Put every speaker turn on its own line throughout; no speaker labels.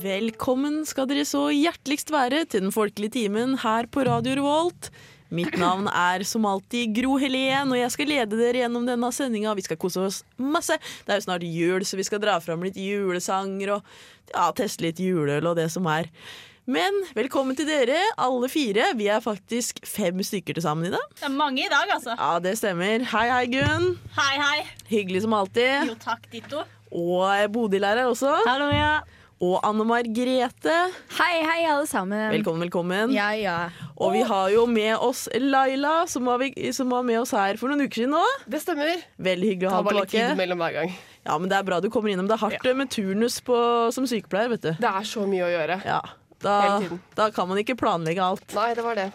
Velkommen skal dere så hjerteligst være til den folkelige timen her på Radio Revolt. Mitt navn er som alltid Gro Helen, og jeg skal lede dere gjennom denne sendinga. Vi skal kose oss masse. Det er jo snart jul, så vi skal dra fram litt julesanger og ja, teste litt juleøl og det som er. Men velkommen til dere, alle fire. Vi er faktisk fem stykker til sammen i dag.
Det er mange i dag, altså.
Ja, det stemmer. Hei, hei, Gunn.
Hei, hei.
Hyggelig som alltid.
Jo takk, ditto.
Og Bodil er her også.
Hallo, ja.
Og Anne Margrethe.
Hei, hei, alle sammen.
Velkommen, velkommen.
Ja, ja.
Og vi har jo med oss Laila, som var, vi- som var med oss her for noen uker siden òg.
Det stemmer.
Veldig hyggelig å
Det
ha
var bare
deg
litt tid
tilbake.
mellom hver gang.
Ja, men Det er bra du kommer innom. Det er hardt det, med turnus på, som sykepleier, vet du.
Det er så mye å gjøre.
Ja, da,
Hele tiden.
da kan man ikke planlegge alt.
Nei, det var det.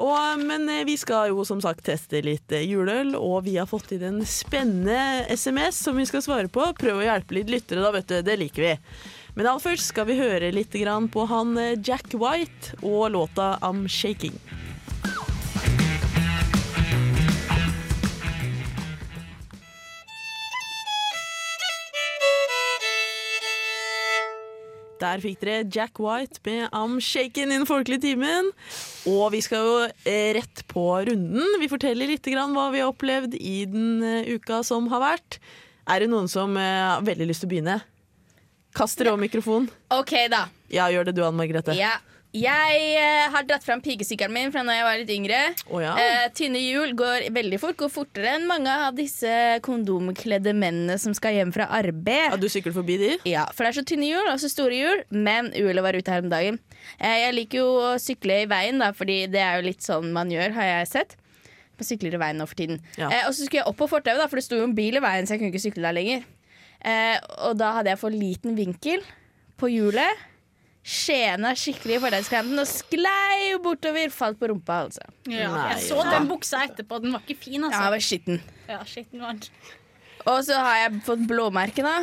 Og, men eh, vi skal jo som sagt teste litt eh, juleøl, og vi har fått inn en spennende SMS som vi skal svare på. Prøv å hjelpe litt lyttere, da, vet du. Det liker vi. Men aller først skal vi høre litt grann på han eh, Jack White og låta 'I'm Shaking'. Der fikk dere Jack White med Am Shaken i den folkelige timen. Og vi skal jo eh, rett på runden. Vi forteller litt grann hva vi har opplevd i den eh, uka som har vært. Er det noen som eh, har veldig lyst til å begynne? Kast dere over mikrofonen.
Ok, da.
Ja, gjør det du, Anne Margrethe.
Ja. Jeg eh, har dratt fram pikesykkelen min fra da jeg var litt yngre.
Å ja.
Eh, tynne hjul går veldig fort, går fortere enn mange av disse kondomkledde mennene som skal hjem fra arbeid.
ja, du sykler forbi de?
Ja, for det er så tynne hjul og så store hjul, men uhellet var ute her om dagen. Eh, Jeg liker jo å sykle i veien, da, fordi det er jo litt sånn man gjør, har jeg sett. Man sykler i veien nå for tiden.
Ja.
Eh, og så skulle jeg opp på fortauet, da, for det sto jo en bil i veien, så jeg kunne ikke sykle der lenger. Eh, og da hadde jeg for liten vinkel på hjulet. Skjena skikkelig i fortauskanten og sklei bortover. Falt på rumpa, altså.
Nei,
jeg så
ja.
den buksa etterpå. Den var ikke fin,
Ja, jeg
altså.
var skitten.
Ja, shit, den var den.
Og så har jeg fått blåmerke, da.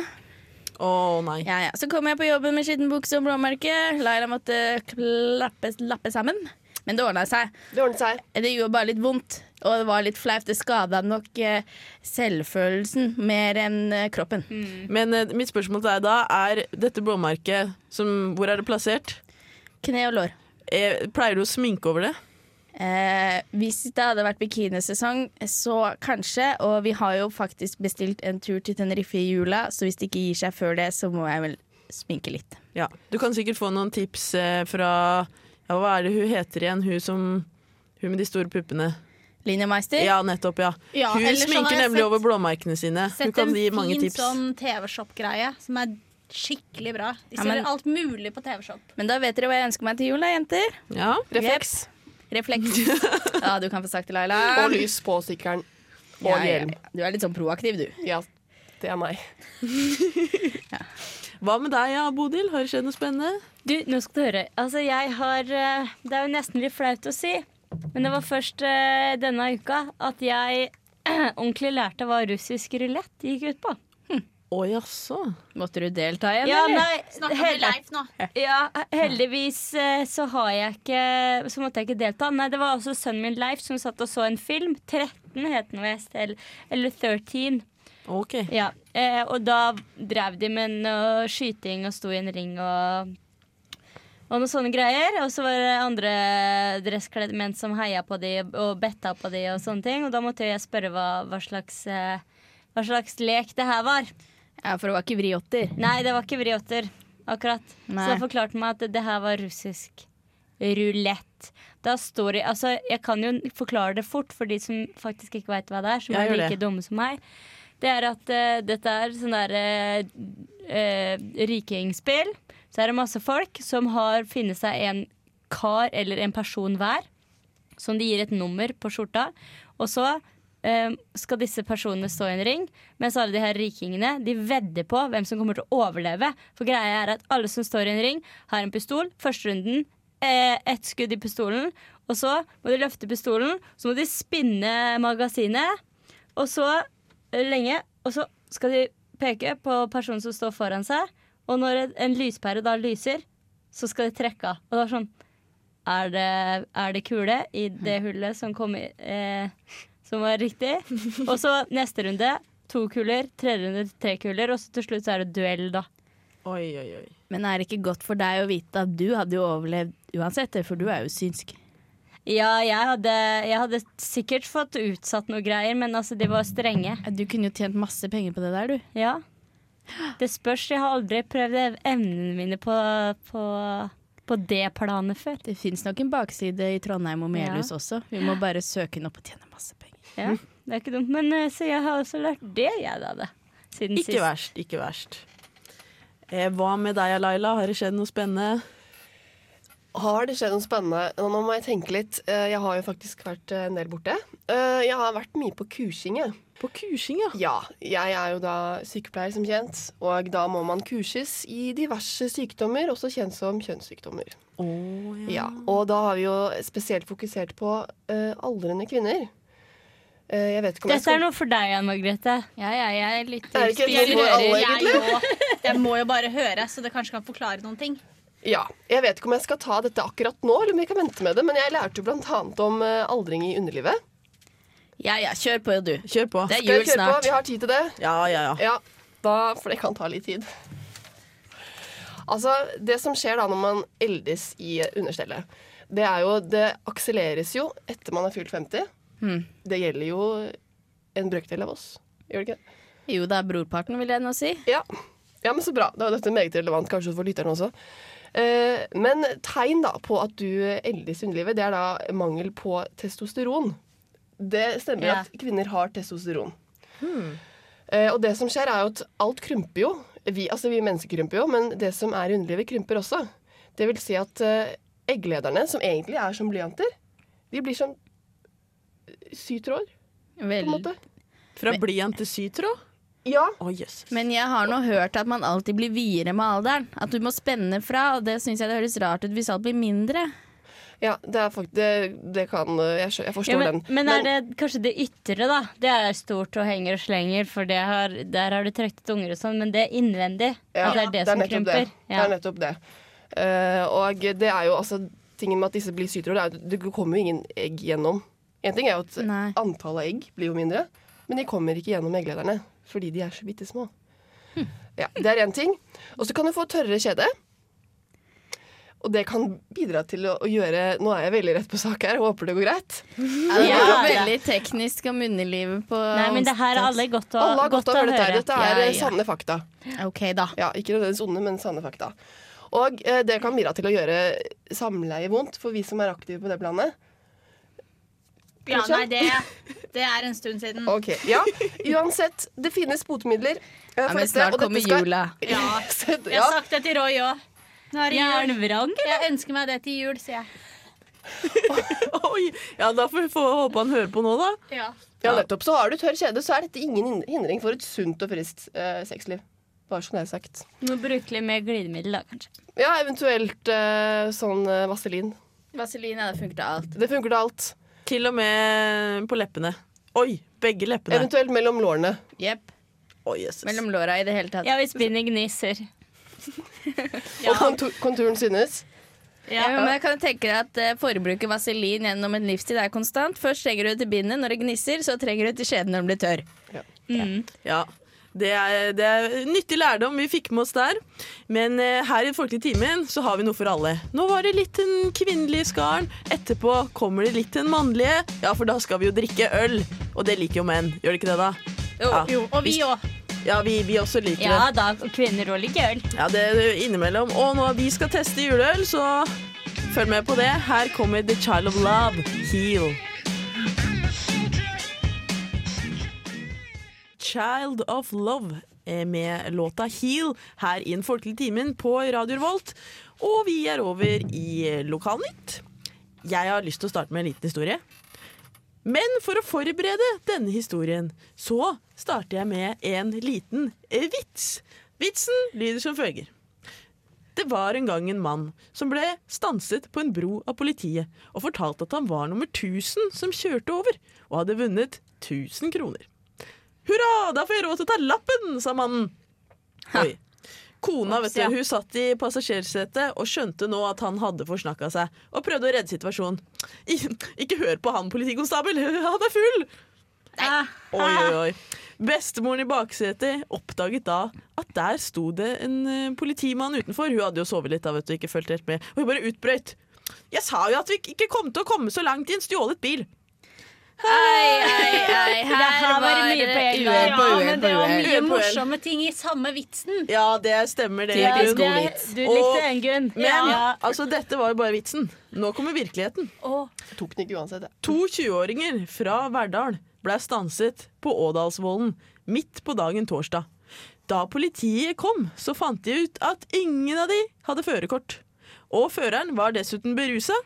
Å nei.
Ja, ja. Så kom jeg på jobben med skitten bukse og blåmerke. Laila måtte klappe, lappe sammen. Men det ordna seg.
Det ordnet seg.
Det gjorde bare litt vondt, og det var litt flaut. Det skada nok eh, selvfølelsen mer enn eh, kroppen.
Men eh, mitt spørsmål til deg da er dette blåmerket som, Hvor er det plassert?
Kne og lår.
Eh, pleier du å sminke over det?
Eh, hvis det hadde vært bikinisesong, så kanskje. Og vi har jo faktisk bestilt en tur til Tenerife i jula, så hvis det ikke gir seg før det, så må jeg vel sminke litt.
Ja, Du kan sikkert få noen tips eh, fra ja, Hva er det hun heter igjen, hun som Hun med de store puppene.
Linja Meister?
Ja, nettopp, ja.
Ja,
hun
eller sånn
sminker
har jeg
nemlig
sett-
over blåmerkene sine. Hun
Sett
kan
en
gi mange
fin
tips.
sånn TV-shop-greie som er skikkelig bra. De
Ja,
selger
men-
alt mulig på TV-shop.
Men da vet dere hva jeg ønsker meg til jul, da, jenter.
Ja.
Refleks
Refleks. Ja, du kan få sagt det, Laila.
og lys på sykkelen. Og
Ja, ja,
hjelm.
ja. Du er litt sånn proaktiv, du.
Ja, det er meg.
Hva med deg, ja, Bodil? Har det skjedd noe spennende?
Du, nå skal du høre. Altså, jeg har eh, Det er jo nesten litt flaut å si, men det var først eh, denne uka at jeg ordentlig lærte hva russisk rulett gikk ut på.
Å jaså.
Måtte du delta igjen,
Ja,
eller?
nei,
Snakka med
hel-
Leif nå.
ja, heldigvis eh, så har jeg ikke Så måtte jeg ikke delta. Nei, det var også sønnen min Leif som satt og så en film. 13 het den visst, eller- eller 13.
OK.
Ja, eh, og da drev de med noe skyting og sto i en ring og, og noen sånne greier. Og så var det andre dresskledde menn som heia på de og betta på de og sånne ting. Og da måtte jo jeg spørre hva, hva, slags, eh, hva slags lek det her var.
Ja, for det var ikke vriotter.
Nei, det var ikke vriotter, akkurat.
Nei.
Så da forklarte han meg at det, det her var russisk rulett. Da står det, altså, jeg kan jo forklare det fort for de som faktisk ikke veit hva det er, som
Ja,
er
gjør
like
det.
dumme som meg. Det er at eh, dette er sånn der eh, eh, rikingspill. Så er det masse folk som har funnet seg en kar eller en person hver som de gir et nummer på skjorta. Og så eh, skal disse personene stå i en ring, mens alle de her rikingene de vedder på hvem som kommer til å overleve. For greia er at alle som står i en ring, har en pistol. Første runden eh, ett skudd i pistolen. Og så må de løfte pistolen, så må de spinne magasinet, og så eh, lenge. Og så skal de peke på personen som står foran seg, og når en- en lyspære da lyser, så skal de trekke av. Og det er sånn er det, er det kule i det hullet som kom i, eh, Som var riktig? Og så neste runde to kuler, tredje runde tre kuler, og så til slutt så er det duell, da.
Oi, oi, oi.
Men er det ikke godt for deg å vite at du hadde jo overlevd uansett, for du er jo synsk.
Ja, jeg hadde, jeg hadde sikkert fått utsatt noe greier, men altså, de var strenge.
Du kunne jo tjent masse penger på det der, du.
Ja. Det spørs. Jeg har aldri prøvd ev- evnene mine på, på, på det planet før.
Det fins nok en bakside i Trondheim og Melhus
Ja.
også. Vi må bare søke den opp og tjene masse penger.
Ja, det er ikke dumt. Men eh, så jeg har også lært det, jeg, da. Det. Siden
Ikke verst, ikke verst. Eh, hva med deg, Laila? Har det skjedd noe spennende?
Har det skjedd noe spennende? Nå nå må jeg tenke litt. Eh, Jeg har jo faktisk vært eh, en del borte. Eh, Jeg har vært mye på kursing, jeg.
På kursing, ja.
Ja, jeg er jo da sykepleier som kjent, og da må man kurses i diverse sykdommer, også kjent som kjønnssykdommer.
Å, ja.
Ja, og da har vi jo spesielt fokusert på eh, aldrende kvinner. Eh, jeg vet ikke om jeg
Dette er noe for deg, Anne Margrethe.
Ja, ja, jeg lytter.
Er det ikke
Jeg
noe for alle,
hører, jeg
egentlig?
må, jeg må jo bare høre, så det kanskje kan forklare noen ting.
Ja, jeg vet ikke om jeg skal ta dette akkurat nå, eller om jeg kan vente med det, men jeg lærte jo blant annet om eh, aldring i underlivet.
Ja ja, kjør på, du.
Kjør på.
Det er
Skal jeg
jul
kjøre på?
snart.
Vi har tid til det.
Ja, ja, ja.
Ja, da, for det kan ta litt tid. Altså, det som skjer da når man eldes i understellet, det er jo Det akselereres jo etter man er fylt 50.
Hmm.
Det gjelder jo en brøkdel av oss. Gjør det ikke det?
Jo, det er brorparten, vil jeg nå si.
Ja. ja, men så bra. Da er dette meget relevant kanskje for lytterne også. Eh, Men tegn da på at du eldes i underlivet, det er da mangel på testosteron. Det stemmer
Ja.
at kvinner har testosteron. Eh, Og det som skjer, er jo at alt krymper jo. Vi, altså vi mennesker krymper jo, men det som er i underlivet, krymper også. Det vil si at eh, egglederne, som egentlig er som blyanter, de blir som sytråd, på en
Vel.
måte.
Fra blyant til sytråd?
Ja,
Å, jøss.
Men jeg har nå hørt at man alltid blir videre med alderen. At du må spenne fra, og det syns jeg det høres rart ut hvis alt blir mindre.
ja det, er fakt det, det kan eh, Jeg, skjø- jeg forstår
Ja, men,
den.
men er det kanskje det ytre, da? Det er stort og henger og slenger, for det har, der har du trøkket unger og sånn, men det er innvendig.
Ja,
at det er det, som
nettopp
krymper.
Det. det
Ja.
er nettopp det. Eh, og det er jo altså Tingen med at disse blir sytråd, er at det kommer jo ingen egg gjennom. En ting er jo at
Nei.
antallet av egg blir jo mindre, men de kommer ikke gjennom egglederne fordi de er så bitte små.
Hm.
Ja, det er én ting. Og så kan du få tørrere kjede. Og det kan bidra til å, å gjøre Nå er jeg veldig rett på sak her, håper det går greit.
Ja, det var
Ja.
veldig teknisk om underlivet på
Nei, men det her er alle godt å,
Alle har godt av å høre dette. her. Dette er
Ja,
eh,
ja.
sanne fakta.
OK, da.
Ja, ikke nødvendigvis onde, men sanne fakta. Og eh, det kan bidra til å gjøre samleie vondt for vi som er aktive på det planet.
Ja,
Kanskje?
nei, det, det er en stund siden.
Ok, ja. Uansett, det finnes botemidler. eh,
Ja,
for
men
dette,
snart
og dette
kommer
skal-
jula.
Ja.
Sett-
Jeg har
ja.
sagt det til Roy òg.
Jernvrang?
Jeg ønsker meg det til jul, sier jeg.
Oi! Ja, da får vi få håpe han hører på nå, da.
Ja.
ja, nettopp. Så har du tørr kjede, så er dette ingen hin- hindring for et sunt og friskt eh, sexliv. Bare så det er sagt.
Noe brukelig med glidemiddel, da, kanskje.
Ja, eventuelt eh, sånn eh, vaselin.
Vaselin, ja, det funker til alt.
Det funker til alt.
Til og med på leppene. Oi! Begge leppene.
Eventuelt mellom lårene.
Jepp.
Å, jøsses.
Mellom låra i det hele tatt.
Ja, hvis bindet gnisser.
Og kontur konturen synes.
Ja, men jeg kan tenke deg at eh, Forbruket av vaselin gjennom en livstid er konstant. Først trenger du det til bindet når det gnisser, så trenger du det til skjeden når den blir tørr.
Ja. Det er, det er nyttig lærdom vi fikk med oss der. Men eh, her i Den folkelige timen så har vi noe for alle. Nå var det litt den kvinnelige skaren. Etterpå kommer det litt den mannlige. Ja, for da skal vi jo drikke øl. Og det liker jo menn. Gjør det ikke det, da?
Jo,
ja.
Jo, og vi òg.
Ja, vi, vi også liker
Ja
det.
da, og kvinner og liker øl.
Ja, det er innimellom. Og når vi skal teste juleøl, så følg med på det. Her kommer The Child of Love, Heal. Child of Love eh, med låta Heal her i Den folkelige timen på Radio Revolt. Og vi er over i Lokalnytt. Jeg har lyst til å starte med en liten historie. Men for å forberede denne historien, så starter jeg med en liten eh, vits. Vitsen lyder som følger. Det var en gang en mann som ble stanset på en bro av politiet og fortalte at han var nummer 1000 som kjørte over, og hadde vunnet 1000 kroner. Hurra, da får jeg råd til å ta lappen, sa mannen. Oi. Kona vet du, hun satt i passasjersetet og skjønte nå at han hadde forsnakka seg, og prøvde å redde situasjonen.
Ah.
I, ikke hør på han, politikonstabel, han er full! Oi, oi, oi. Bestemoren i baksetet oppdaget da at der sto det en eh, politimann utenfor. Hun hadde jo sovet litt da, vet du, ikke fulgt helt med. Og hun bare utbrøyt. Jeg sa jo at vi ikke kom til å komme så langt i en stjålet bil.
Ei, ei, ei,
her var det mye på en gang.
uhell på
Ja,
uhell
men det
på
var
uhell.
mye
Øl på øl.
morsomme ting i samme vitsen.
Ja, det stemmer det.
Ja,
Gunn.
det er, du likte den, Gunn.
Men
Ja.
altså, dette var jo bare vitsen. Nå kommer virkeligheten.
Og
Tok den ikke uansett. jeg.
To 20-åringer fra Verdal ble stanset på Ådalsvollen midt på dagen torsdag. Da politiet kom, så fant de ut at ingen av de hadde førerkort. Og føreren var dessuten berusa,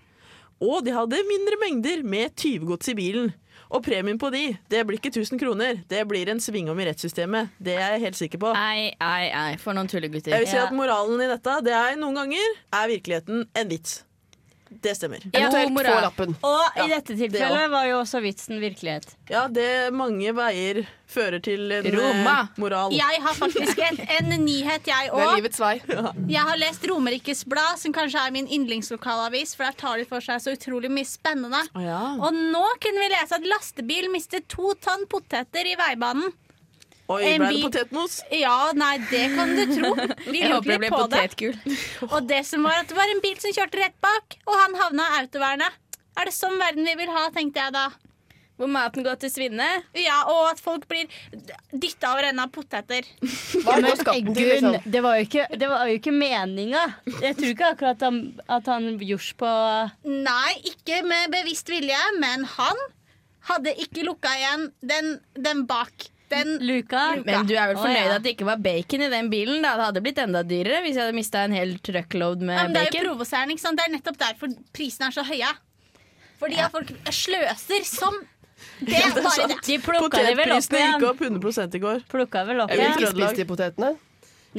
og de hadde mindre mengder med tyvegods i bilen. Og premien på de, det blir ikke 1000 kroner, det blir en svingom i rettssystemet. Det er jeg helt sikker på.
Ei, ei, ei, for noen tullegutter.
Jeg vil si
Ja.
at moralen i dette, det er noen ganger er virkeligheten en vits. Det stemmer.
Ja,
Eventuelt
god
få
moral.
lappen.
Og i
Ja,
dette
det
tilfellet var jo også vitsen virkelighet.
Ja, det mange veier fører til en eh,
Roma.
moral.
jeg har faktisk en, en nyhet, jeg
Det er
òg.
livets vei.
Jeg har lest Romerikes Blad, som kanskje er min yndlingslokalavis, for der tar de for seg så utrolig mye spennende.
Å ja.
Og nå kunne vi lese at lastebil mistet to tonn poteter i veibanen.
Oi,
en
ble det
bi-
potetmos?
Ja, nei, det kan du tro. Vi
Jeg
lurte
håper det
litt
blir
på det.
potetgull.
Og det som var at det var en bil som kjørte rett bak, og han havna i autovernet. Er det sånn verden vi vil ha, tenkte jeg da.
Hvor maten går til svinne.
Ja, Og at folk blir dytta over ende av poteter.
Hva er
Gunn,
godskapen til, liksom?
det var jo ikke, det var jo ikke meninga. Jeg tror ikke akkurat han, at han gjorde på
Nei, ikke med bevisst vilje, men han hadde ikke lukka igjen den, den bak. Den
luka.
Men du er vel
Å,
fornøyd
ja.
at det ikke var bacon i den bilen? Da. Det hadde blitt enda dyrere hvis jeg hadde mista en hel truckload med
Ja, men det er jo
bacon.
provoserende. ikke sant? Det er nettopp derfor prisene er så høye. Fordi at folk sløser som Det er bare
Sånn,
det.
De plukka det vel opp
Potetprisene
igjen.
gikk opp 100 i går.
Plukka vel opp
Jeg vil
igjen.
ikke-
Ikke spis de potetene.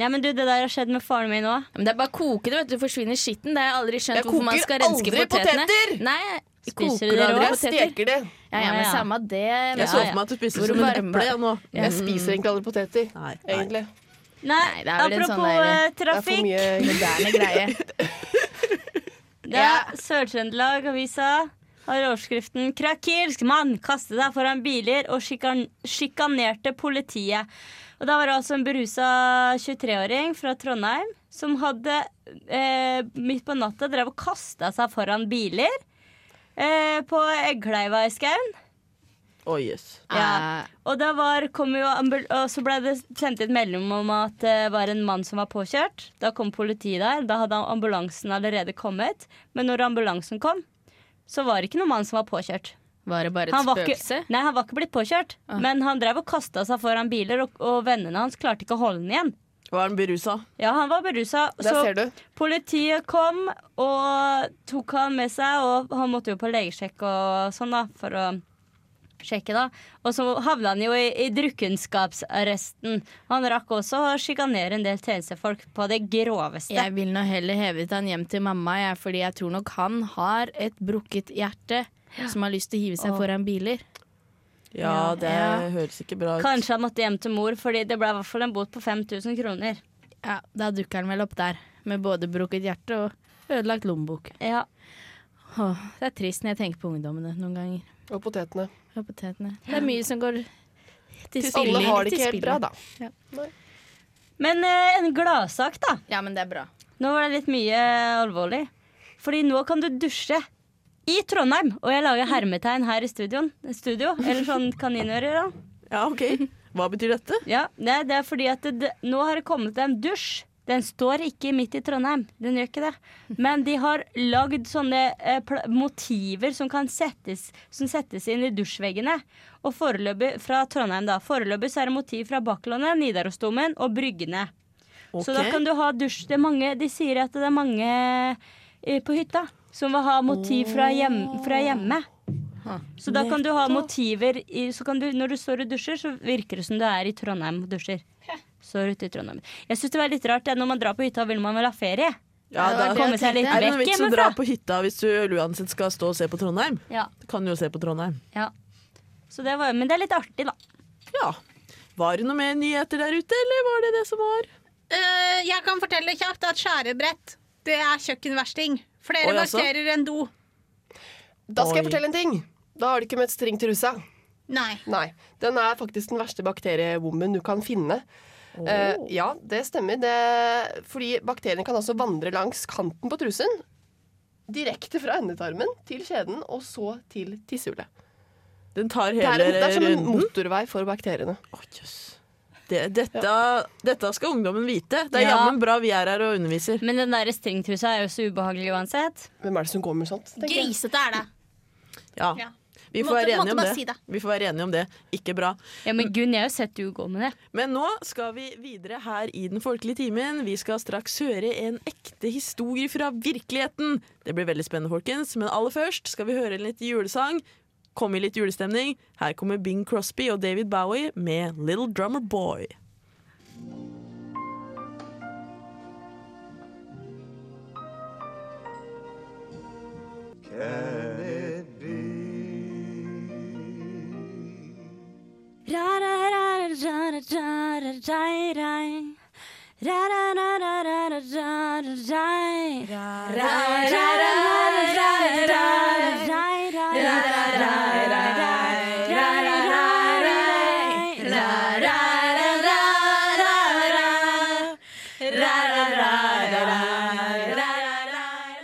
Nei, men du, Det der har skjedd med faren min òg.
Men det er bare å koke det, vet du. Forsvinner skitten. Det har jeg aldri skjønt
Jeg
hvorfor man
koker
skal renske
aldri
potetene.
poteter!
Nei, jeg
Spiser
koker
dere
aldri
rå
Jeg
poteter.
steker det.
Ja, ja, men
Ja, ja.
samme det.
Jeg
Ja,
så
ja.
for meg at du spiste
Hvor
som en
varme-
eple jeg, nå.
Jeg spiser egentlig aldri poteter.
Nei, nei.
Egentlig.
Nei,
det er vel en
apropos
sånn der-
eh,
Det er for
trafikk.
mye
Moderne greie.
Det er Sør-Trøndelag Avisa har overskriften 'Krakilsk mann kaste deg foran biler og sjikan sjikanerte politiet'. Og Da var det altså en berusa 23-åring fra Trondheim som hadde eh, midt på natta drev og kasta seg foran biler eh, på Eggkleiva i skauen.
Å, jøss.
Ja. Og da var, kom jo ambul og så ble det sendt et melding om at det var en mann som var påkjørt. Da kom politiet der. Da hadde ambulansen allerede kommet. Men når ambulansen kom, så var det ikke noen mann som var påkjørt.
Var det bare et
Han var
spøkelse? Ah.
ikke, nei, han var ikke blitt påkjørt. Men han drev og kasta seg foran biler, og, og vennene hans klarte ikke å holde han igjen.
Var den berusa?
Ja, han var berusa.
Der
Så
ser du.
politiet kom og tok han med seg, og han måtte jo på legesjekk og sånn, da, for å sjekke, da. Og så havna han jo i, i drukkenskapsarresten. Han rakk også å sjikanere en del tjenestefolk på det groveste.
Jeg vil nå heller hevet han hjem til mamma, jeg, fordi jeg tror nok han har et brukket hjerte som har lyst til å hive seg
Åh.
foran biler.
Ja, det
Ja.
høres ikke bra ut.
Kanskje han måtte hjem til mor, fordi det ble i hvert fall en bot på 5000 kroner.
Ja, Da dukker han vel opp der, med både brukket hjerte og ødelagt lommebok.
Ja.
Åh, det er trist når jeg tenker på ungdommene noen ganger.
Og potetene.
Og potetene. Det er mye som går til spille.
Alle har det ikke helt bra, da.
Men eh, en gladsak, da.
Ja, men det er bra.
Nå var det litt mye alvorlig. Fordi nå kan du dusje i Trondheim. Og jeg lager hermetegn her i studioen. Studio, eller sånn kaninører, da.
Ja, ok. Hva betyr dette?
Ja, nei, det er fordi at det, det, nå har det kommet en dusj. Den står ikke midt i Trondheim, den gjør ikke det. Men de har lagd sånne eh, pla- motiver som kan settes, som settes inn i dusjveggene. Og foreløpig fra Trondheim, da. Foreløpig så er det motiv fra Bakklandet, Nidarosdomen og Bryggene.
Ok.
Så da kan du ha dusj. Det er mange, de sier at det er mange eh, på hytta som vil ha motiv fra, hjem, fra hjemme. Så da kan du ha motiver i, så kan du, Når du står og dusjer, så virker det som du er i Trondheim og dusjer. Står ute i Trondheim. Jeg syns det var litt rart. Ja, når man drar på hytta, vil man vel ha ferie?
Ja, da,
det var det
Komme seg litt
er det noen
vekk
vits å dra
hjemmefra.
på hytta hvis du uansett skal stå og se på Trondheim?
Ja,
Du kan jo se på Trondheim.
ja. Så det var, men det er litt artig, da.
Ja. Var det noe mer nyheter der ute, eller var det det som var?
Eh, jeg kan fortelle kjapt at skjærebrett, det er kjøkkenversting. Flere
Oi, altså.
bakterier enn do.
Da skal
Oi.
jeg fortelle en ting. Da har du ikke møtt streng trusa.
Nei.
Nei. Den er faktisk den verste bakteriewomben du kan finne. Eh, ja, det stemmer. Det, fordi bakteriene kan altså vandre langs kanten på trusen. Direkte fra endetarmen til kjeden, og så til tissehullet.
Den tar
Det er,
hele
en, det er som en
runden.
motorvei for bakteriene.
Å, jøss. Det, dette, dette skal ungdommen vite. Det er
Ja.
jammen bra vi er her og underviser.
Men den der stringtrusa er jo så ubehagelig uansett.
Hvem er det som går med sånt? tenker jeg?
Grisete er det.
Ja,
Ja.
Vi får
Måtte-
være
måtte
enige om
bare
det.
si det.
Vi får være enige om det. Ikke bra.
Ja, men Gunn, jeg har jo sett du gå med det.
Men nå skal vi videre her i Den folkelige timen. Vi skal straks høre en ekte historie fra virkeligheten. Det blir veldig spennende, folkens. Men aller først skal vi høre en litt julesang. Komme i litt julestemning. Her kommer Bing Crosby og David Bowie med Little Drummer Boy.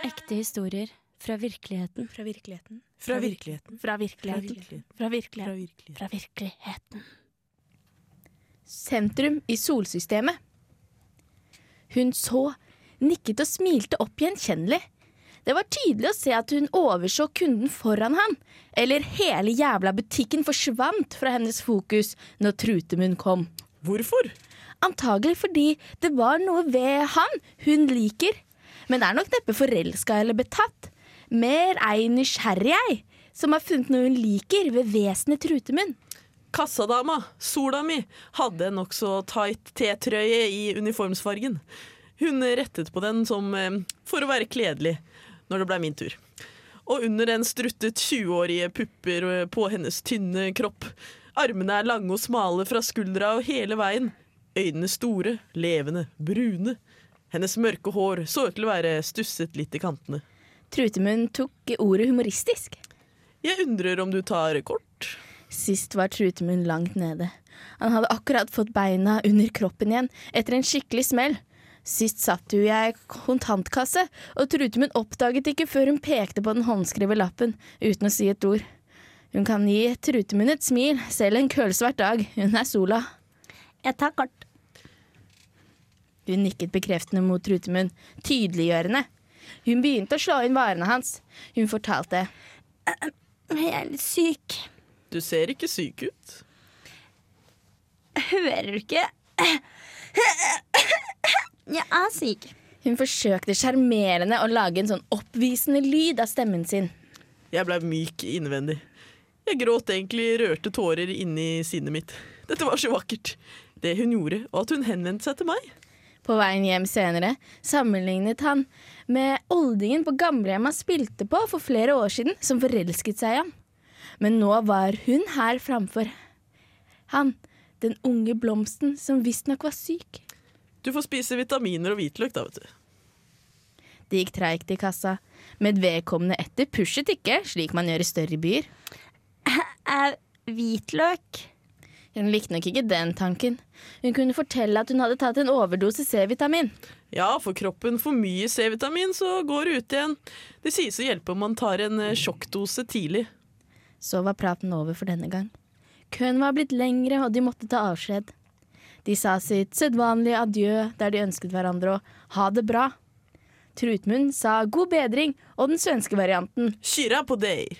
Ekte historier fra virkeligheten.
Fra virkeligheten.
Fra virkeligheten.
Fra virkeligheten. Fra virkeligheten. Fra virkeligheten. Sentrum i solsystemet. Hun så, nikket og smilte opp gjenkjennelig. Det var tydelig å se at hun overså kunden foran han, eller hele jævla butikken forsvant fra hennes fokus når Trutemunn kom.
Hvorfor?
Antagelig fordi det var noe ved han hun liker, men er nok neppe forelska eller betatt. Mer ei nysgjerrig ei, som har funnet noe hun liker ved vesenet Trutemunn.
Kassadama, sola mi, hadde en nokså tight T-trøye i uniformsfargen. Hun rettet på den som eh, for å være kledelig når det blei min tur. Og under den struttet 20-årige pupper eh, på hennes tynne kropp. Armene er lange og smale fra skuldra og hele veien. Øynene store, levende, brune. Hennes mørke hår så ut til å være stusset litt i kantene.
Trutemunn tok ordet humoristisk.
Jeg undrer om du tar kort?
Sist var Trutemunn langt nede. Han hadde akkurat fått beina under kroppen igjen etter en skikkelig smell. Sist satt jo jeg i kontantkasse, og Trutemunn oppdaget ikke før hun pekte på den håndskrevne lappen, uten å si et ord. Hun kan gi Trutemunn et smil, selv en kølsvart dag. Hun er sola.
Jeg tar kort.
Hun nikket bekreftende mot Trutemunn, tydeliggjørende. Hun begynte å slå inn varene hans. Hun fortalte.
Jeg er litt syk.
Du ser ikke syk ut.
Hører du ikke? Jeg er syk.
Hun forsøkte sjarmerende å lage en sånn oppvisende lyd av stemmen sin.
Jeg blei myk innvendig. Jeg gråt egentlig rørte tårer inni sinnet mitt. Dette var så vakkert. Det hun gjorde, og at hun henvendte seg til meg.
På veien hjem senere sammenlignet han med oldingen på gamlehjemmet han spilte på for flere år siden, som forelsket seg i ham. Men nå var hun her framfor. Han, den unge blomsten som visstnok var syk.
Du får spise vitaminer og hvitløk, da, vet du.
Det gikk treigt i kassa, men vedkommende etter pushet ikke, slik man gjør i større byer.
Er hvitløk
Hun likte nok ikke den tanken. Hun kunne fortelle at hun hadde tatt en overdose C-vitamin.
Ja, får kroppen for mye C-vitamin, så går det ut igjen. Det sies å hjelpe om man tar en eh, sjokkdose tidlig.
Så var praten over for denne gang. Køen var blitt lengre, og de måtte ta avskjed. De sa sitt sedvanlige adjø der de ønsket hverandre å ha det bra. Trutmund sa god bedring og den svenske varianten
Kyrre på deg!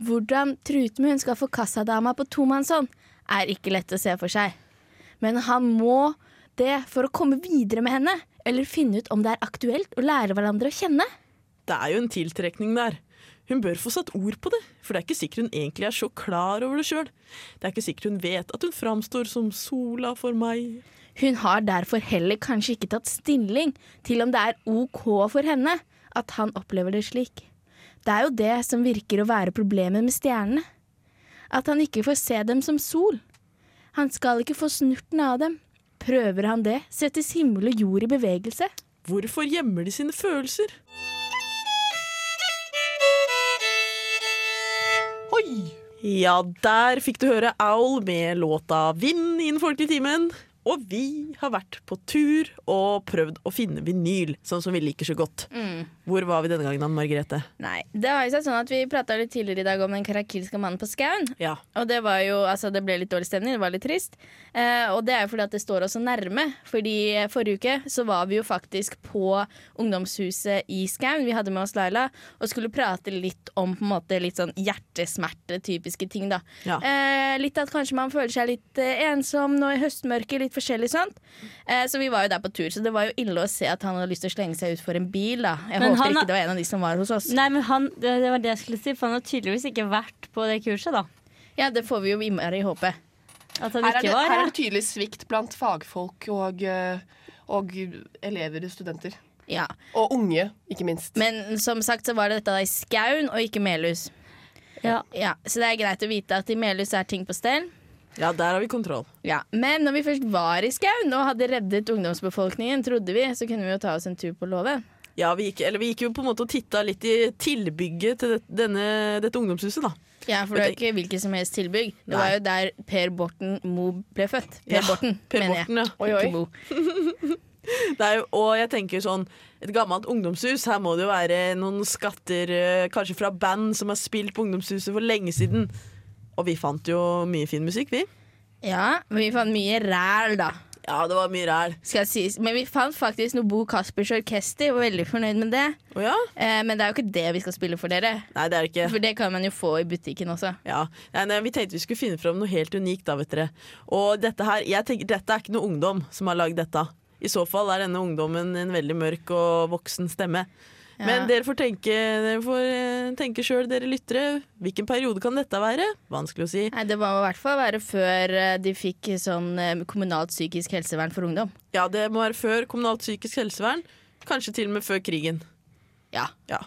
hvordan Trutmund skal få kassadama på tomannshånd, er ikke lett å se for seg. Men han må det for å komme videre med henne, eller finne ut om det er aktuelt å lære hverandre å kjenne.
Det er jo en tiltrekning der. Hun bør få satt ord på det, for det er ikke sikkert hun egentlig er så klar over det sjøl. Det er ikke sikkert hun vet at hun framstår som sola for meg.
Hun har derfor heller kanskje ikke tatt stilling til om det er OK for henne at han opplever det slik. Det er jo det som virker å være problemet med stjernene. At han ikke får se dem som sol. Han skal ikke få snurten av dem. Prøver han det, settes himmel og jord i bevegelse.
Hvorfor gjemmer de sine følelser?
Oi!
Ja, der fikk du høre Owl med låta 'Vind' i den folkelige timen. Og vi har vært på tur og prøvd å finne vinyl, sånn som vi liker så godt. Hvor var vi denne gangen, Anne Margrethe?
Nei, det har jo seg sånn at Vi prata litt tidligere i dag om den karakilske mannen på skauen.
Ja.
Og det, var jo, altså, det ble litt dårlig stemning, det var litt trist. Eh, og det er jo fordi at det står oss så nærme. Fordi eh, forrige uke så var vi jo faktisk på ungdomshuset i Skaun. Vi hadde med oss Laila og skulle prate litt om på en måte litt sånn hjertesmerte-typiske ting, da.
Ja.
Eh, litt at kanskje man føler seg litt eh, ensom nå i høstmørket, litt forskjellig sånt. Eh, så vi var jo der på tur, så det var jo ille å se at han hadde lyst til å slenge seg ut for en bil, da. Jeg
Men
håper
han
ikke
har-
det var en av de som var hos oss.
Nei, men han, det, det var det jeg skulle si, for han har tydeligvis ikke vært på det kurset, da.
Ja, det får vi jo innmari håpe.
At han
Her er,
ikke
det,
var
her er
ja.
det tydelig svikt blant fagfolk og, eh, og elever og studenter.
Ja.
Og unge, ikke minst.
Men som sagt så var det dette da i Skaun og ikke Melhus.
ja.
Ja, så det er greit å vite at i Melhus er ting på stell.
ja, der har vi kontroll.
Ja. Men når vi først var i Skaun og hadde reddet ungdomsbefolkningen, trodde vi, så kunne vi jo ta oss en tur på låve.
Ja, vi gikk, eller vi gikk jo på en måte og titta litt i tilbygget til det, denne, dette ungdomshuset, da.
Ja, for det var ikke hvilket som helst tilbygg. Det var
Nei.
jo der Per Borten Moe ble født. Per
Ja,
Borten,
Per
mener
Borten, ja.
jeg.
Oi, oi.
Ikke Moe.
Det er jo, og jeg tenker sånn Et gammelt ungdomshus, her må det jo være noen skatter eh, Kanskje fra band som har spilt på ungdomshuset for lenge siden. Og vi fant jo mye fin musikk, vi.
Ja, men vi fant mye ræl, da.
Ja, det var mye ræl.
Skal sies. Men vi fant faktisk noe Bo Caspers Orkester, var veldig fornøyd med det.
Å ja?
Eh, men det er jo ikke det vi skal spille for dere.
Nei, det er det ikke.
For det kan man jo få i butikken også.
Ja. Nei, nei, vi tenkte vi skulle finne fram noe helt unikt, da, vet dere. Og dette her, jeg tenker dette er ikke noe ungdom som har lagd dette. I så fall er denne ungdommen en veldig mørk og voksen stemme. Men dere får tenke dere får, eh, tenke sjøl, dere lyttere. Hvilken periode kan dette være? Vanskelig å si.
Nei, Det må i hvert fall være før eh, de fikk sånn eh, kommunalt psykisk helsevern for ungdom.
Ja, det må være før kommunalt psykisk helsevern. Kanskje til og med før krigen.
Ja.
Ja,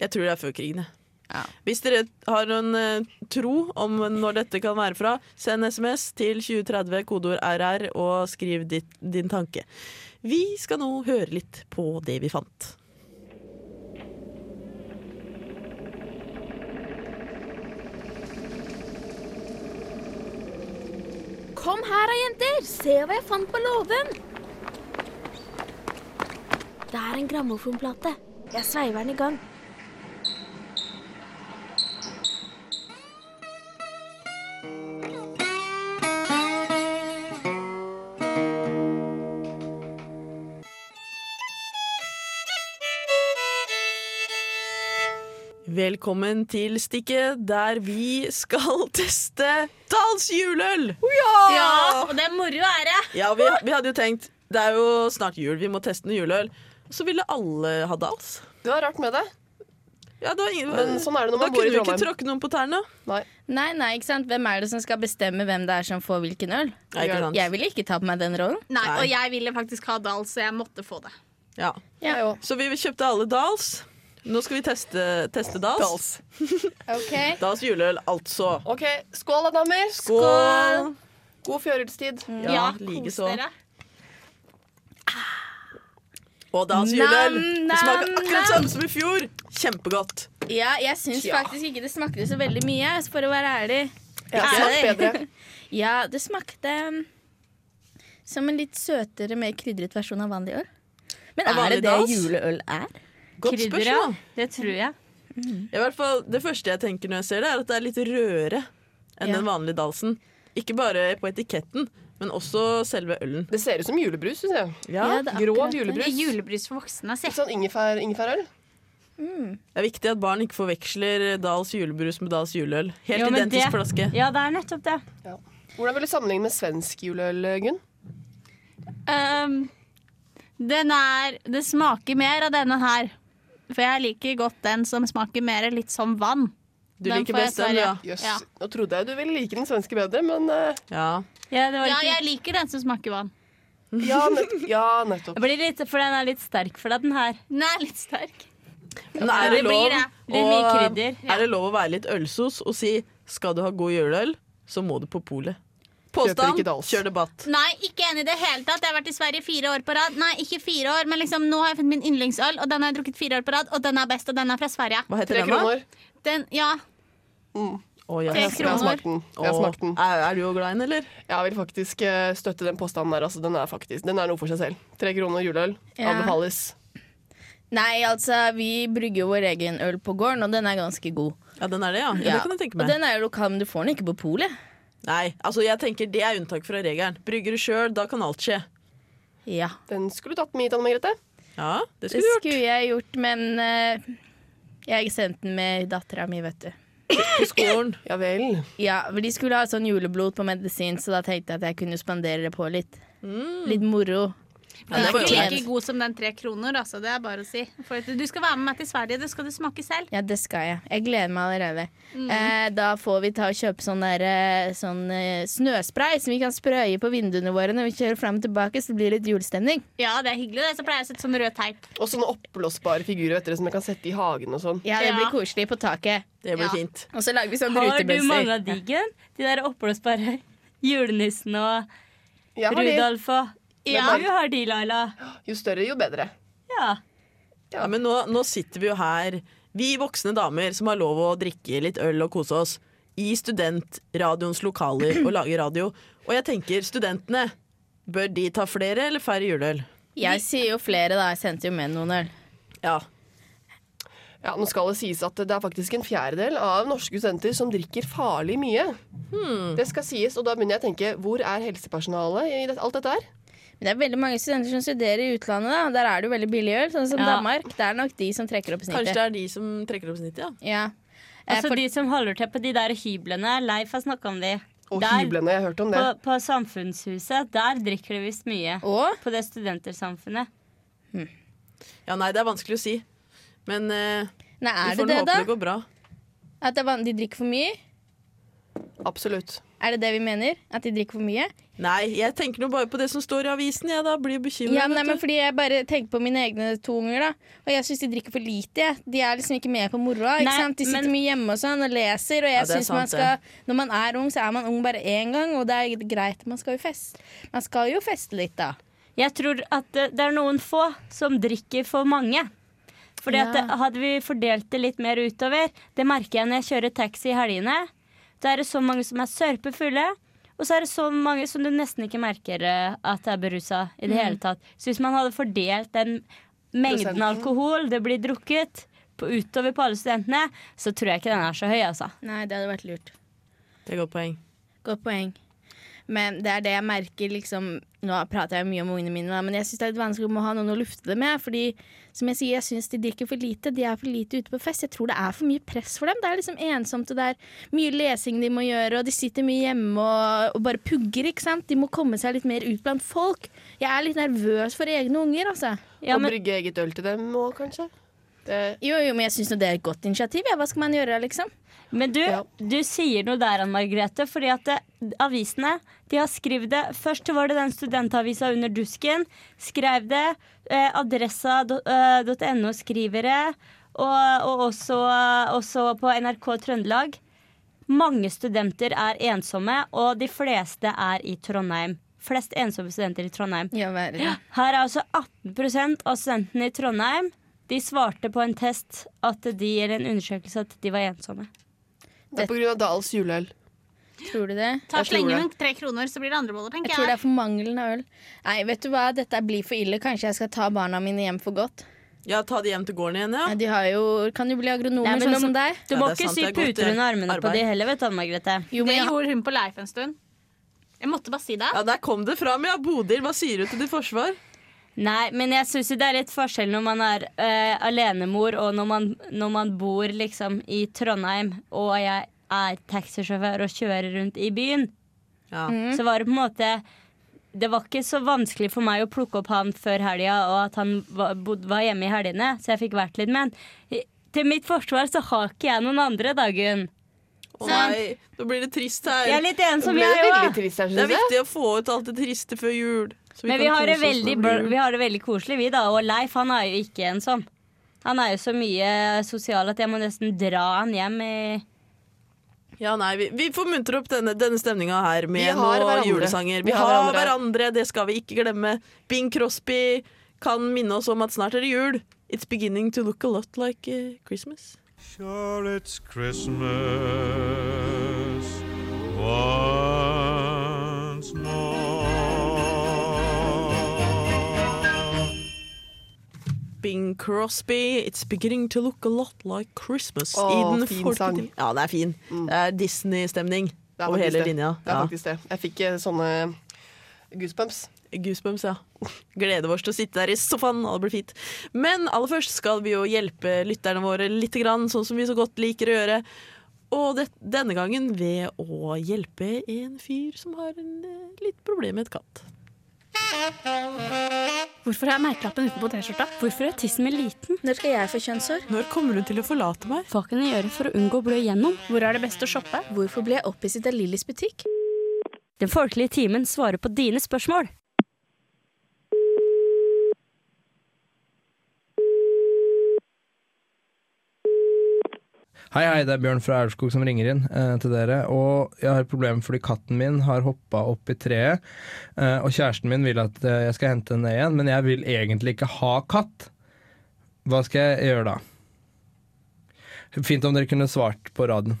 Jeg tror det er før krigen, jeg.
Ja.
Hvis dere har noen eh, tro om når dette kan være fra, send SMS til 2030, kodeord RR, og skriv ditt, din tanke. Vi skal nå høre litt på det vi fant.
Kom her da, jenter. Se hva jeg fant på låven. Det er en grammofonplate. Jeg sveiver den i gang.
Velkommen til Stikket, der vi skal teste Dals juleøl!
Ja, og det er moro å være.
Ja, vi, vi hadde jo tenkt det er jo snart jul, vi må teste noe juleøl. Så ville alle ha Dals.
Det var rart med det.
Ja, det var ingen,
Men sånn er det når
Da
man bor
kunne
i
du ikke
Trondheim.
tråkke noen på tærne.
Nei.
Nei, nei, ikke sant? Hvem er det som skal bestemme hvem det er som får hvilken øl?
Nei, ikke sant.
Jeg ville ikke ta på meg den rollen.
Nei,
Nei.
og jeg ville faktisk ha dal, så jeg måtte få det.
Ja.
Jeg òg.
Så vi kjøpte alle Dals. Nå skal vi teste, teste Dals. Dals. juleøl, altså.
OK, skål da, damer.
Skål! Mm.
God førjulstid.
Ja, likeså.
dere.
Ah. Og Dals
Nam,
juleøl.
nam,
Det smaker akkurat
nam.
samme som i fjor. Kjempegodt.
Ja, jeg syns
Tja.
faktisk ikke det smakte så veldig mye, for å være ærlig.
Ja,
Ikke
smak
det?
bedre.
Ja, det smakte mm, som en litt søtere, mer krydret versjon av vanlig øl. Men
Av
er
vanlig
det det
dans?
juleøl er?
Godt
Krydder, ja.
spørsmål.
Det tror jeg.
I hvert fall, det første jeg tenker når jeg ser det, er at det er litt rødere enn
Ja.
den vanlige Dalsen. Ikke bare på etiketten, men også selve ølen.
Det ser ut som julebrus, syns jeg.
Ja,
det er akkurat
Grov
det.
julebrus.
Julebrus for voksne. Se.
Litt sånn ingefær, ingefærøl.
Det er viktig at barn ikke forveksler Dals julebrus med Dals juleøl. Helt
Jo, men
identisk
det-
flaske.
Ja, det er nettopp det.
Hvordan vil du sammenligne med svensk juleøl, Gunn?
Ehm, den er Det smaker mer av denne her. For jeg liker godt den som smaker mer litt som vann.
Du
Den
liker
får jeg
best den,
Sverige.
ja.
Jøss,
Ja.
nå trodde jeg du ville like den svenske bedre, men eh,
ja.
Ja, det var
Ja,
ikke...
jeg liker den som smaker vann.
ja, nett, ja, nettopp.
Det blir litt, for den er litt sterk for deg, den her.
Den er litt sterk.
Men er det
det blir
lov,
det.
Litt
å-
mye krydder.
er det lov å være litt ølsos og si skal du ha god juleøl, så må du på polet. Påstand,
ikke Dals.
kjør debatt.
Nei, ikke enig i det hele tatt. Jeg har vært i Sverige fire år på rad. Nei, ikke fire år, men liksom nå har jeg funnet min yndlingsøl, og den har jeg drukket fire år på rad, og den er best, og den er fra Sverige.
Hva heter
Tre
den, da?
kroner.
Den, ja.
Å, ja.
Tre
Jeg har smakt den. Jeg har
Å,
smakt den.
Er, er du òg glad i den, eller?
Jeg vil faktisk eh, støtte den påstanden der. Altså, den, er faktisk, den er noe for seg selv. Tre kroner juleøl
Ja.
anbefales.
Nei, altså, vi brygger vår egen øl på gården, og den er ganske god.
Ja, den er det, ja. ja, Det kan jeg tenke meg.
Og den er jo lokal, men du får den ikke på polet.
Nei, altså jeg tenker det er unntak fra regelen. Brygger du sjøl, da kan alt skje.
Ja.
Den skulle du tatt med hit, Anne Margrethe.
Ja, det
Det
skulle du gjort.
skulle jeg gjort, men eh, jeg sendte den med dattera mi, vet du.
På skolen.
Ja vel.
Ja, for De skulle ha sånn juleblod på medisin, så da tenkte jeg at jeg kunne spandere det på litt. Litt moro.
Mm. Ja,
Den
det
er
får
ikke
jeg
klart.
like god som den tre kroner, altså. Det er bare å si. For at du skal være med meg til Sverige, det skal du smake selv.
Ja, det skal jeg. Jeg gleder meg allerede.
Mm.
Eh, da får vi ta og kjøpe sånn, der, eh, sånn eh, snøspray som vi kan sprøye på vinduene våre når vi kjører fram og tilbake, så det blir litt julestemning.
Ja, det er hyggelig, det. Så pleier jeg å sette sånn rød teip.
Og sånne oppblåsbare figurer vet dere, som jeg kan sette i hagen og sånn.
Ja, Det
Ja.
blir koselig på taket.
Det blir
Ja.
fint.
Og så lager vi sånn
Har du mange
brutebøsser.
av diggen? De der oppblåsbare julenissen og
Jeg har det.
Rudolf og
Ja.
Du har de, Laila.
Jo større, jo bedre.
Ja.
Ja, men nå, nå sitter vi jo her, vi voksne damer som har lov å drikke litt øl og kose oss, i studentradioens lokaler og lage radio. Og jeg tenker, studentene, bør de ta flere eller færre juleøl?
Jeg sier jo flere, da. Jeg sendte jo med noen øl.
Ja.
Ja, nå skal det sies at det er faktisk en fjerdedel av norske studenter som drikker farlig mye.
Hmm.
Det skal sies, og da begynner jeg å tenke, hvor er helsepersonalet i det, alt dette her?
Men det er veldig mange studenter som studerer i utlandet. da Der er det jo veldig billig øl, sånn som
Ja.
Danmark. Det er nok de som trekker opp
Kanskje
snittet.
det er de som trekker opp snittet, ja.
Ja. Eh,
Altså
for-
de som holder til på de der hyblene. Leif har snakka om de.
Og
Der,
hyblene, jeg har hørt om
på,
det.
på Samfunnshuset. Der drikker de visst mye.
Og
På det studentersamfunnet.
Ja, nei, det er vanskelig å si. Men eh,
Nei,
vi
er
får
det
nå håpe det
det, da?
går bra.
At det er van- de drikker for mye?
Absolutt.
Er det det vi mener? At de drikker for mye?
Nei, jeg tenker nå bare på det som står i avisen, jeg da. Blir bekymra.
Ja, nei, men fordi Jeg bare tenker på mine egne to unger. da Og jeg syns de drikker for lite. jeg. De er liksom ikke med på moroa. ikke
Nei,
sant? De sitter
men-
mye hjemme og sånn og leser. Og jeg
Ja, det er
synes man
sant,
skal Når man er ung, så er man ung bare én gang, og det er greit. Man skal jo feste Man skal jo feste litt, da.
Jeg tror at det, det er noen få som drikker for mange. Fordi
Ja.
at det- Hadde vi fordelt det litt mer utover Det merker jeg når jeg kjører taxi i helgene. Da er det så mange som er sørpefulle, og så er det så mange som du nesten ikke merker eh, at er berusa i det hele tatt. Så hvis man hadde fordelt den
Mm.
mengden
Prosenten.
alkohol det blir drukket på, utover på alle studentene, så tror jeg ikke den er så høy, altså.
Nei, det hadde vært lurt.
Det er godt poeng.
Godt poeng. Men det er det jeg merker liksom Nå prater jeg mye om ungene mine, da, men jeg syns det er litt vanskelig å ha noen å lufte det med. Fordi som jeg sier, jeg syns de drikker for lite. De er for lite ute på fest. Jeg tror det er for mye press for dem. Det er liksom ensomt, og det er mye lesing de må gjøre, og de sitter mye hjemme og, og bare pugger, ikke sant. De må komme seg litt mer ut blant folk. Jeg er litt nervøs for egne unger, altså.
Ja,
og
men-
brygge eget øl til dem òg, kanskje. Det,
Jo, jo, men jeg syns det er et godt initiativ. Ja. Hva skal man gjøre, liksom?
Men du,
Ja.
du sier noe der, Anne Margrethe. Fordi at det, avisene de har skrevet det. Først var det den studentavisa under dusken. Skrev det. Eh, Adressa.no skriver det. Og, og også, også på NRK Trøndelag. Mange studenter er ensomme, og de fleste er i Trondheim. Flest ensomme studenter i Trondheim.
Ja, være.
Her er altså 18 av studentene i Trondheim De svarte på en test at de, eller en undersøkelse at de var ensomme.
det er på grunn av Dahls juleøl.
Tror du det?
Ta
Jeg tror
slenge
det.
noen tre kroner, så blir det andreboller, tenker
Jeg tror det
jeg.
er for mangelen av øl. Nei, vet du hva, dette blir for ille. Kanskje jeg skal ta barna mine hjem for godt.
Ja, ta det hjem til gården igjen,
Ja,
ja.
De har jo, kan jo bli agronomer,
Nei, men
altså,
nå-
sånn som deg.
Du
Ja,
må
det er
ikke
sant,
sy
det er godt,
puter
det.
under armene på
eh, Arbeid.
de heller, vet du, Anne Margrethe.
Jo,
Det
men jeg,
gjorde hun på Leif en stund. Jeg måtte bare si det.
Ja, Der kom det fram, ja. Bodil, hva sier du til ditt forsvar?
Nei, men jeg syns det er litt forskjell når man er eh, alenemor, og når man, når man bor liksom i Trondheim, og jeg er taxisjåfør og kjører rundt i byen.
Ja.
Så var det på en måte Det var ikke så vanskelig for meg å plukke opp han før helga, og at han var, bod, var hjemme i helgene, så jeg fikk vært litt med han. I- Til mitt forsvar så har ikke jeg noen andre, da, Gunn.
Å nei, nå blir det trist her.
Jeg er litt
Det
ensom,
ble
jeg
veldig
òg.
trist her,
Det er
synes jeg.
viktig å få ut alt det triste før jul. så
Men
kan
vi har, det
kose oss
veldig,
når det blir
bra-
jul.
vi har det veldig koselig, vi da. Og Leif han er jo ikke ensom. Han er jo så mye sosial at jeg må nesten dra han hjem. i-
Ja, nei, vi, vi får muntre opp denne, denne stemninga her
Vi
med
har
noen
hverandre.
julesanger. Vi,
Vi har
har hverandre.
hverandre.
det skal vi ikke glemme. Bing Crosby kan minne oss om at snart er det jul. It's beginning to look a lot like eh, Christmas.
Sure, it's Christmas once more.
Bing Crosby, 'It's Beginning To Look A Lot Like Christmas'.
Åh,
i den
fin
folklige-
sang. Mm.
Ja, den er fin. Det er Disney-stemning
Det er
over
faktisk
hele
det.
linja.
Det er
Ja.
faktisk det. Jeg fikk eh, sånne goosebumps.
Goosebumps, ja. Gleder oss til å sitte der i sofaen, og det blir fint. Men aller først skal vi jo hjelpe lytterne våre litt, grann, sånn som vi så godt liker å gjøre. Og det, denne gangen ved å hjelpe en fyr som har en, eh, litt problem med et katt.
Hvorfor har jeg merkelappen utenpå T-skjorta?
Hvorfor er tissen min liten?
Når skal jeg få kjønnshår?
Når kommer hun til å forlate meg?
Hva kan jeg gjøre for å unngå å blø igjennom?
Hvor er det best å shoppe?
Hvorfor ble jeg opphisset av Lillys butikk?
Den folkelige timen svarer på dine spørsmål.
Hei, hei, det er Bjørn fra Aurskog som ringer inn eh, til dere. Og jeg har et problem fordi katten min har hoppa opp i treet. Eh, og kjæresten min vil at eh, jeg skal hente henne ned igjen, men jeg vil egentlig ikke ha katt. Hva skal jeg gjøre da? Fint om dere kunne svart på radioen.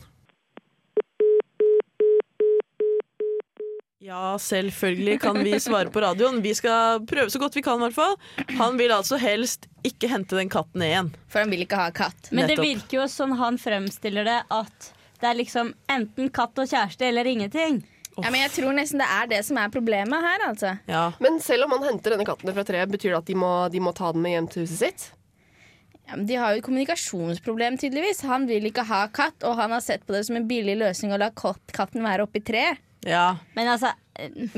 Ja, selvfølgelig kan vi svare på radioen. Vi skal prøve så godt vi kan, i hvert fall. Han vil altså helst ikke hente den katten ned igjen.
For han vil ikke ha katt.
Men det
Nettopp.
virker jo sånn han fremstiller det, at det er liksom enten katt og kjæreste eller ingenting.
Ja, men jeg tror nesten det er det som er problemet her, altså.
Ja.
Men selv om han henter denne katten fra treet, betyr det at de må, de må ta den med hjem til huset sitt?
Ja, men de har jo et kommunikasjonsproblem, tydeligvis. Han vil ikke ha katt, og han har sett på det som en billig løsning å la katt- katten være oppi treet.
ja.
Men altså,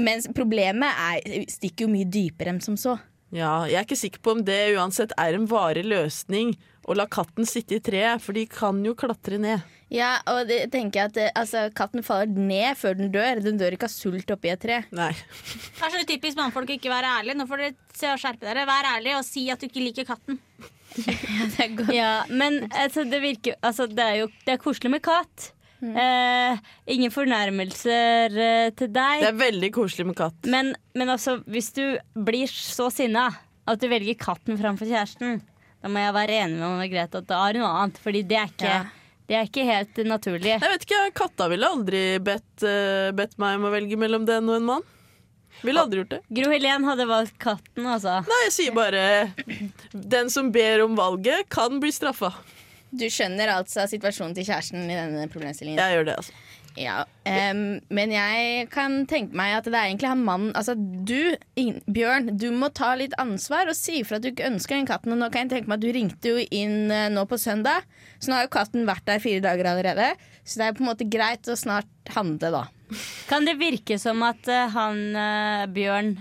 Mens problemet er, stikker jo mye dypere enn som så.
Ja, jeg er ikke sikker på om det uansett er en varig løsning å la katten sitte i treet, for de kan jo klatre ned.
Ja, og det, tenker jeg at eh, altså, Katten faller ned før den dør. Den dør ikke av sult oppi et tre.
Nei.
Det er så typisk mannfolk å ikke være ærlig. Nå får dere se og skjerpe dere. Vær ærlig og si at du ikke liker katten.
Det er godt.
ja, men altså, det virker Altså, det er jo det er koselig med katt.
Mm.
Eh, ingen fornærmelser eh, til deg.
Det er veldig koselig med katt.
Men, men altså, hvis du blir så sinna at du velger katten framfor kjæresten, da må jeg være enig med Margrethe at det er noe annet. Fordi det er ikke,
Ja.
det er ikke helt naturlig.
Jeg vet ikke, Katta ville aldri bedt, eh, bedt meg om å velge mellom den og en mann. Ville aldri gjort det.
Gro Helen hadde valgt katten, altså.
Nei, jeg sier bare Den som ber om valget, kan bli straffa.
Du skjønner altså situasjonen til kjæresten i denne problemstillingen.
Jeg gjør det, altså.
Ja, em, men jeg kan tenke meg at det er egentlig han mannen Altså du, Ing- Bjørn, du må ta litt ansvar og si ifra at du ikke ønsker den katten. Og nå kan jeg tenke meg at du ringte jo inn eh, nå på søndag, så nå har jo katten vært der fire dager allerede. Så det er på en måte greit å snart handle, da.
Kan det virke som at eh, han eh, Bjørn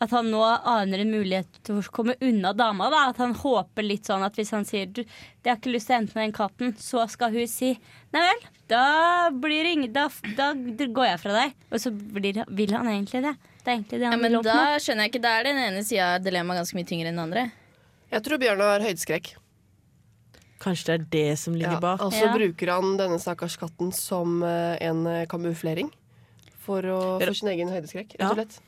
At han nå aner en mulighet til å komme unna dama? da At han håper litt sånn at hvis han sier du, 'Jeg har ikke lyst til å hente den katten', så skal hun si 'Nei vel, da, blir det ingen, da, da går jeg fra deg'. Og så blir, vil han egentlig det. Det er egentlig det
Ja,
han
men
vil oppnå.
da skjønner jeg ikke. Da er den ene sida av dilemmaet ganske mye tyngre enn den andre.
Jeg tror Bjørn har høydeskrekk.
Kanskje det er det som ligger
Ja,
bak.
altså
Ja.
bruker han denne stakkars katten som eh, en eh, kamuflering for, å, for sin egen høydeskrekk, rett
Ja.
og slett.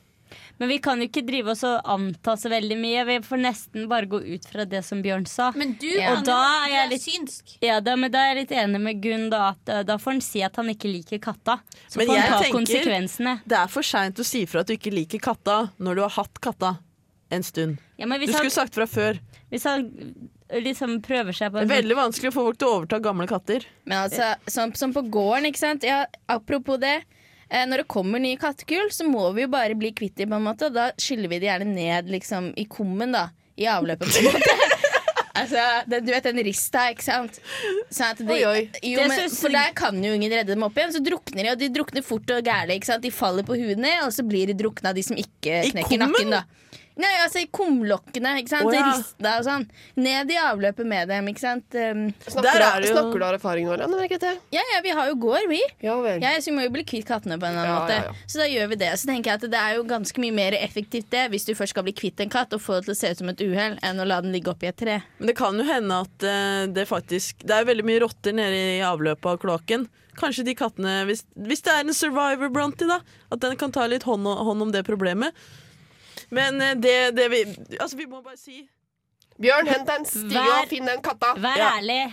Men vi kan jo ikke drive oss og anta så veldig mye. Vi får nesten bare gå ut fra det som Bjørn sa.
Men du,
Ja.
Og da er jeg litt-
synsk.
Ja, da, men da er jeg litt enig med Gunn. Da, at, eh, da får han si at han ikke liker katta. Så
Men
får
jeg
han ta
tenker-
konsekvensene.
Det er for seint å si fra at du ikke liker katta når du har hatt katta en stund.
Ja, men
Du
hvis han,
skulle sagt fra før.
hvis han liksom prøver seg på
Det
en
er veldig vanskelig å få folk til å overta gamle katter.
Men altså, som, som på gården, ikke sant? Ja, apropos det. eh, Når det kommer nye kattekull, så må vi jo bare bli kvitt dem, på en måte. Og da skyller vi det gjerne ned liksom, i kummen, da. I avløpet, på en måte. altså, det, du vet den rista, ikke sant? Sånn at de,
Oi, oi.
Jo,
Det
men,
synes-
for der kan jo ingen redde dem opp igjen. Så drukner de, og de drukner fort og gærlig. Ikke sant? De faller på huet ned, og så blir de drukna av de som ikke
I
knekker
kummen?
nakken, da. Nei, altså i kumlokkene, ikke sant.
Å, ja.
Rista og sånn. Ned i avløpet med dem, ikke sant. Um,
Snakker,
Der er
du,
det jo-
snakker du av erfaring nå, eller? Anne Margrethe?
Ja, ja, vi har jo gård, vi.
Ja vel.
Ja, så Vi må jo bli kvitt kattene på en eller annen
Ja,
måte.
ja, ja.
Så da gjør vi det. Så tenker jeg at det er jo ganske mye mer effektivt det hvis du først skal bli kvitt en katt og få det til å se ut som et uhell, enn å la den ligge oppi et tre.
Men det kan jo hende at eh, det faktisk Det er veldig mye rotter nede i avløpet av kloakken. Kanskje de kattene Hvis, hvis det er en survivor blant de, da. At den kan ta litt hånd, o- hånd om det problemet. Men eh, det, det vi Altså, vi må bare si
Bjørn, hent den stige
Vær-
og finn den katta!
Vær
Ja.
ærlig.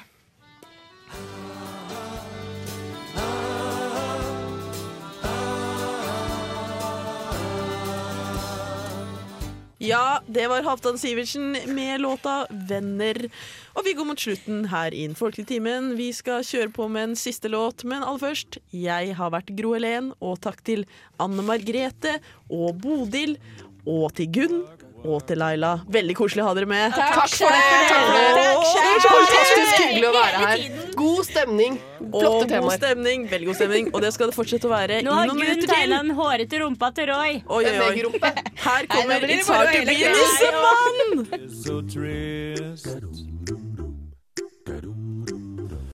Ja, det var Halvdan Sivertsen med låta 'Venner'. Og vi går mot slutten her i Den folkelige timen. Vi skal kjøre på med en siste låt, men aller først Jeg har vært Gro Helen, og takk til Anne Margrethe og Bodil. Og til Gunn og til Laila. Veldig koselig å ha dere med. Takk, for det!
Åh, det var så fantastisk hyggelig å være her. God stemning.
Og
Flotte
god
temaer.
stemning. Veldig god stemning. Og det skal det fortsette å være i
Nå har
noen
Gunn
minutter til.
tegna en hårete rumpa til Roy.
Oi, oi, oi.
Megerumpe.
Her kommer
blir det
It's
bare
hard
å
to
hele
be
greia.
nissemann!
is so trist.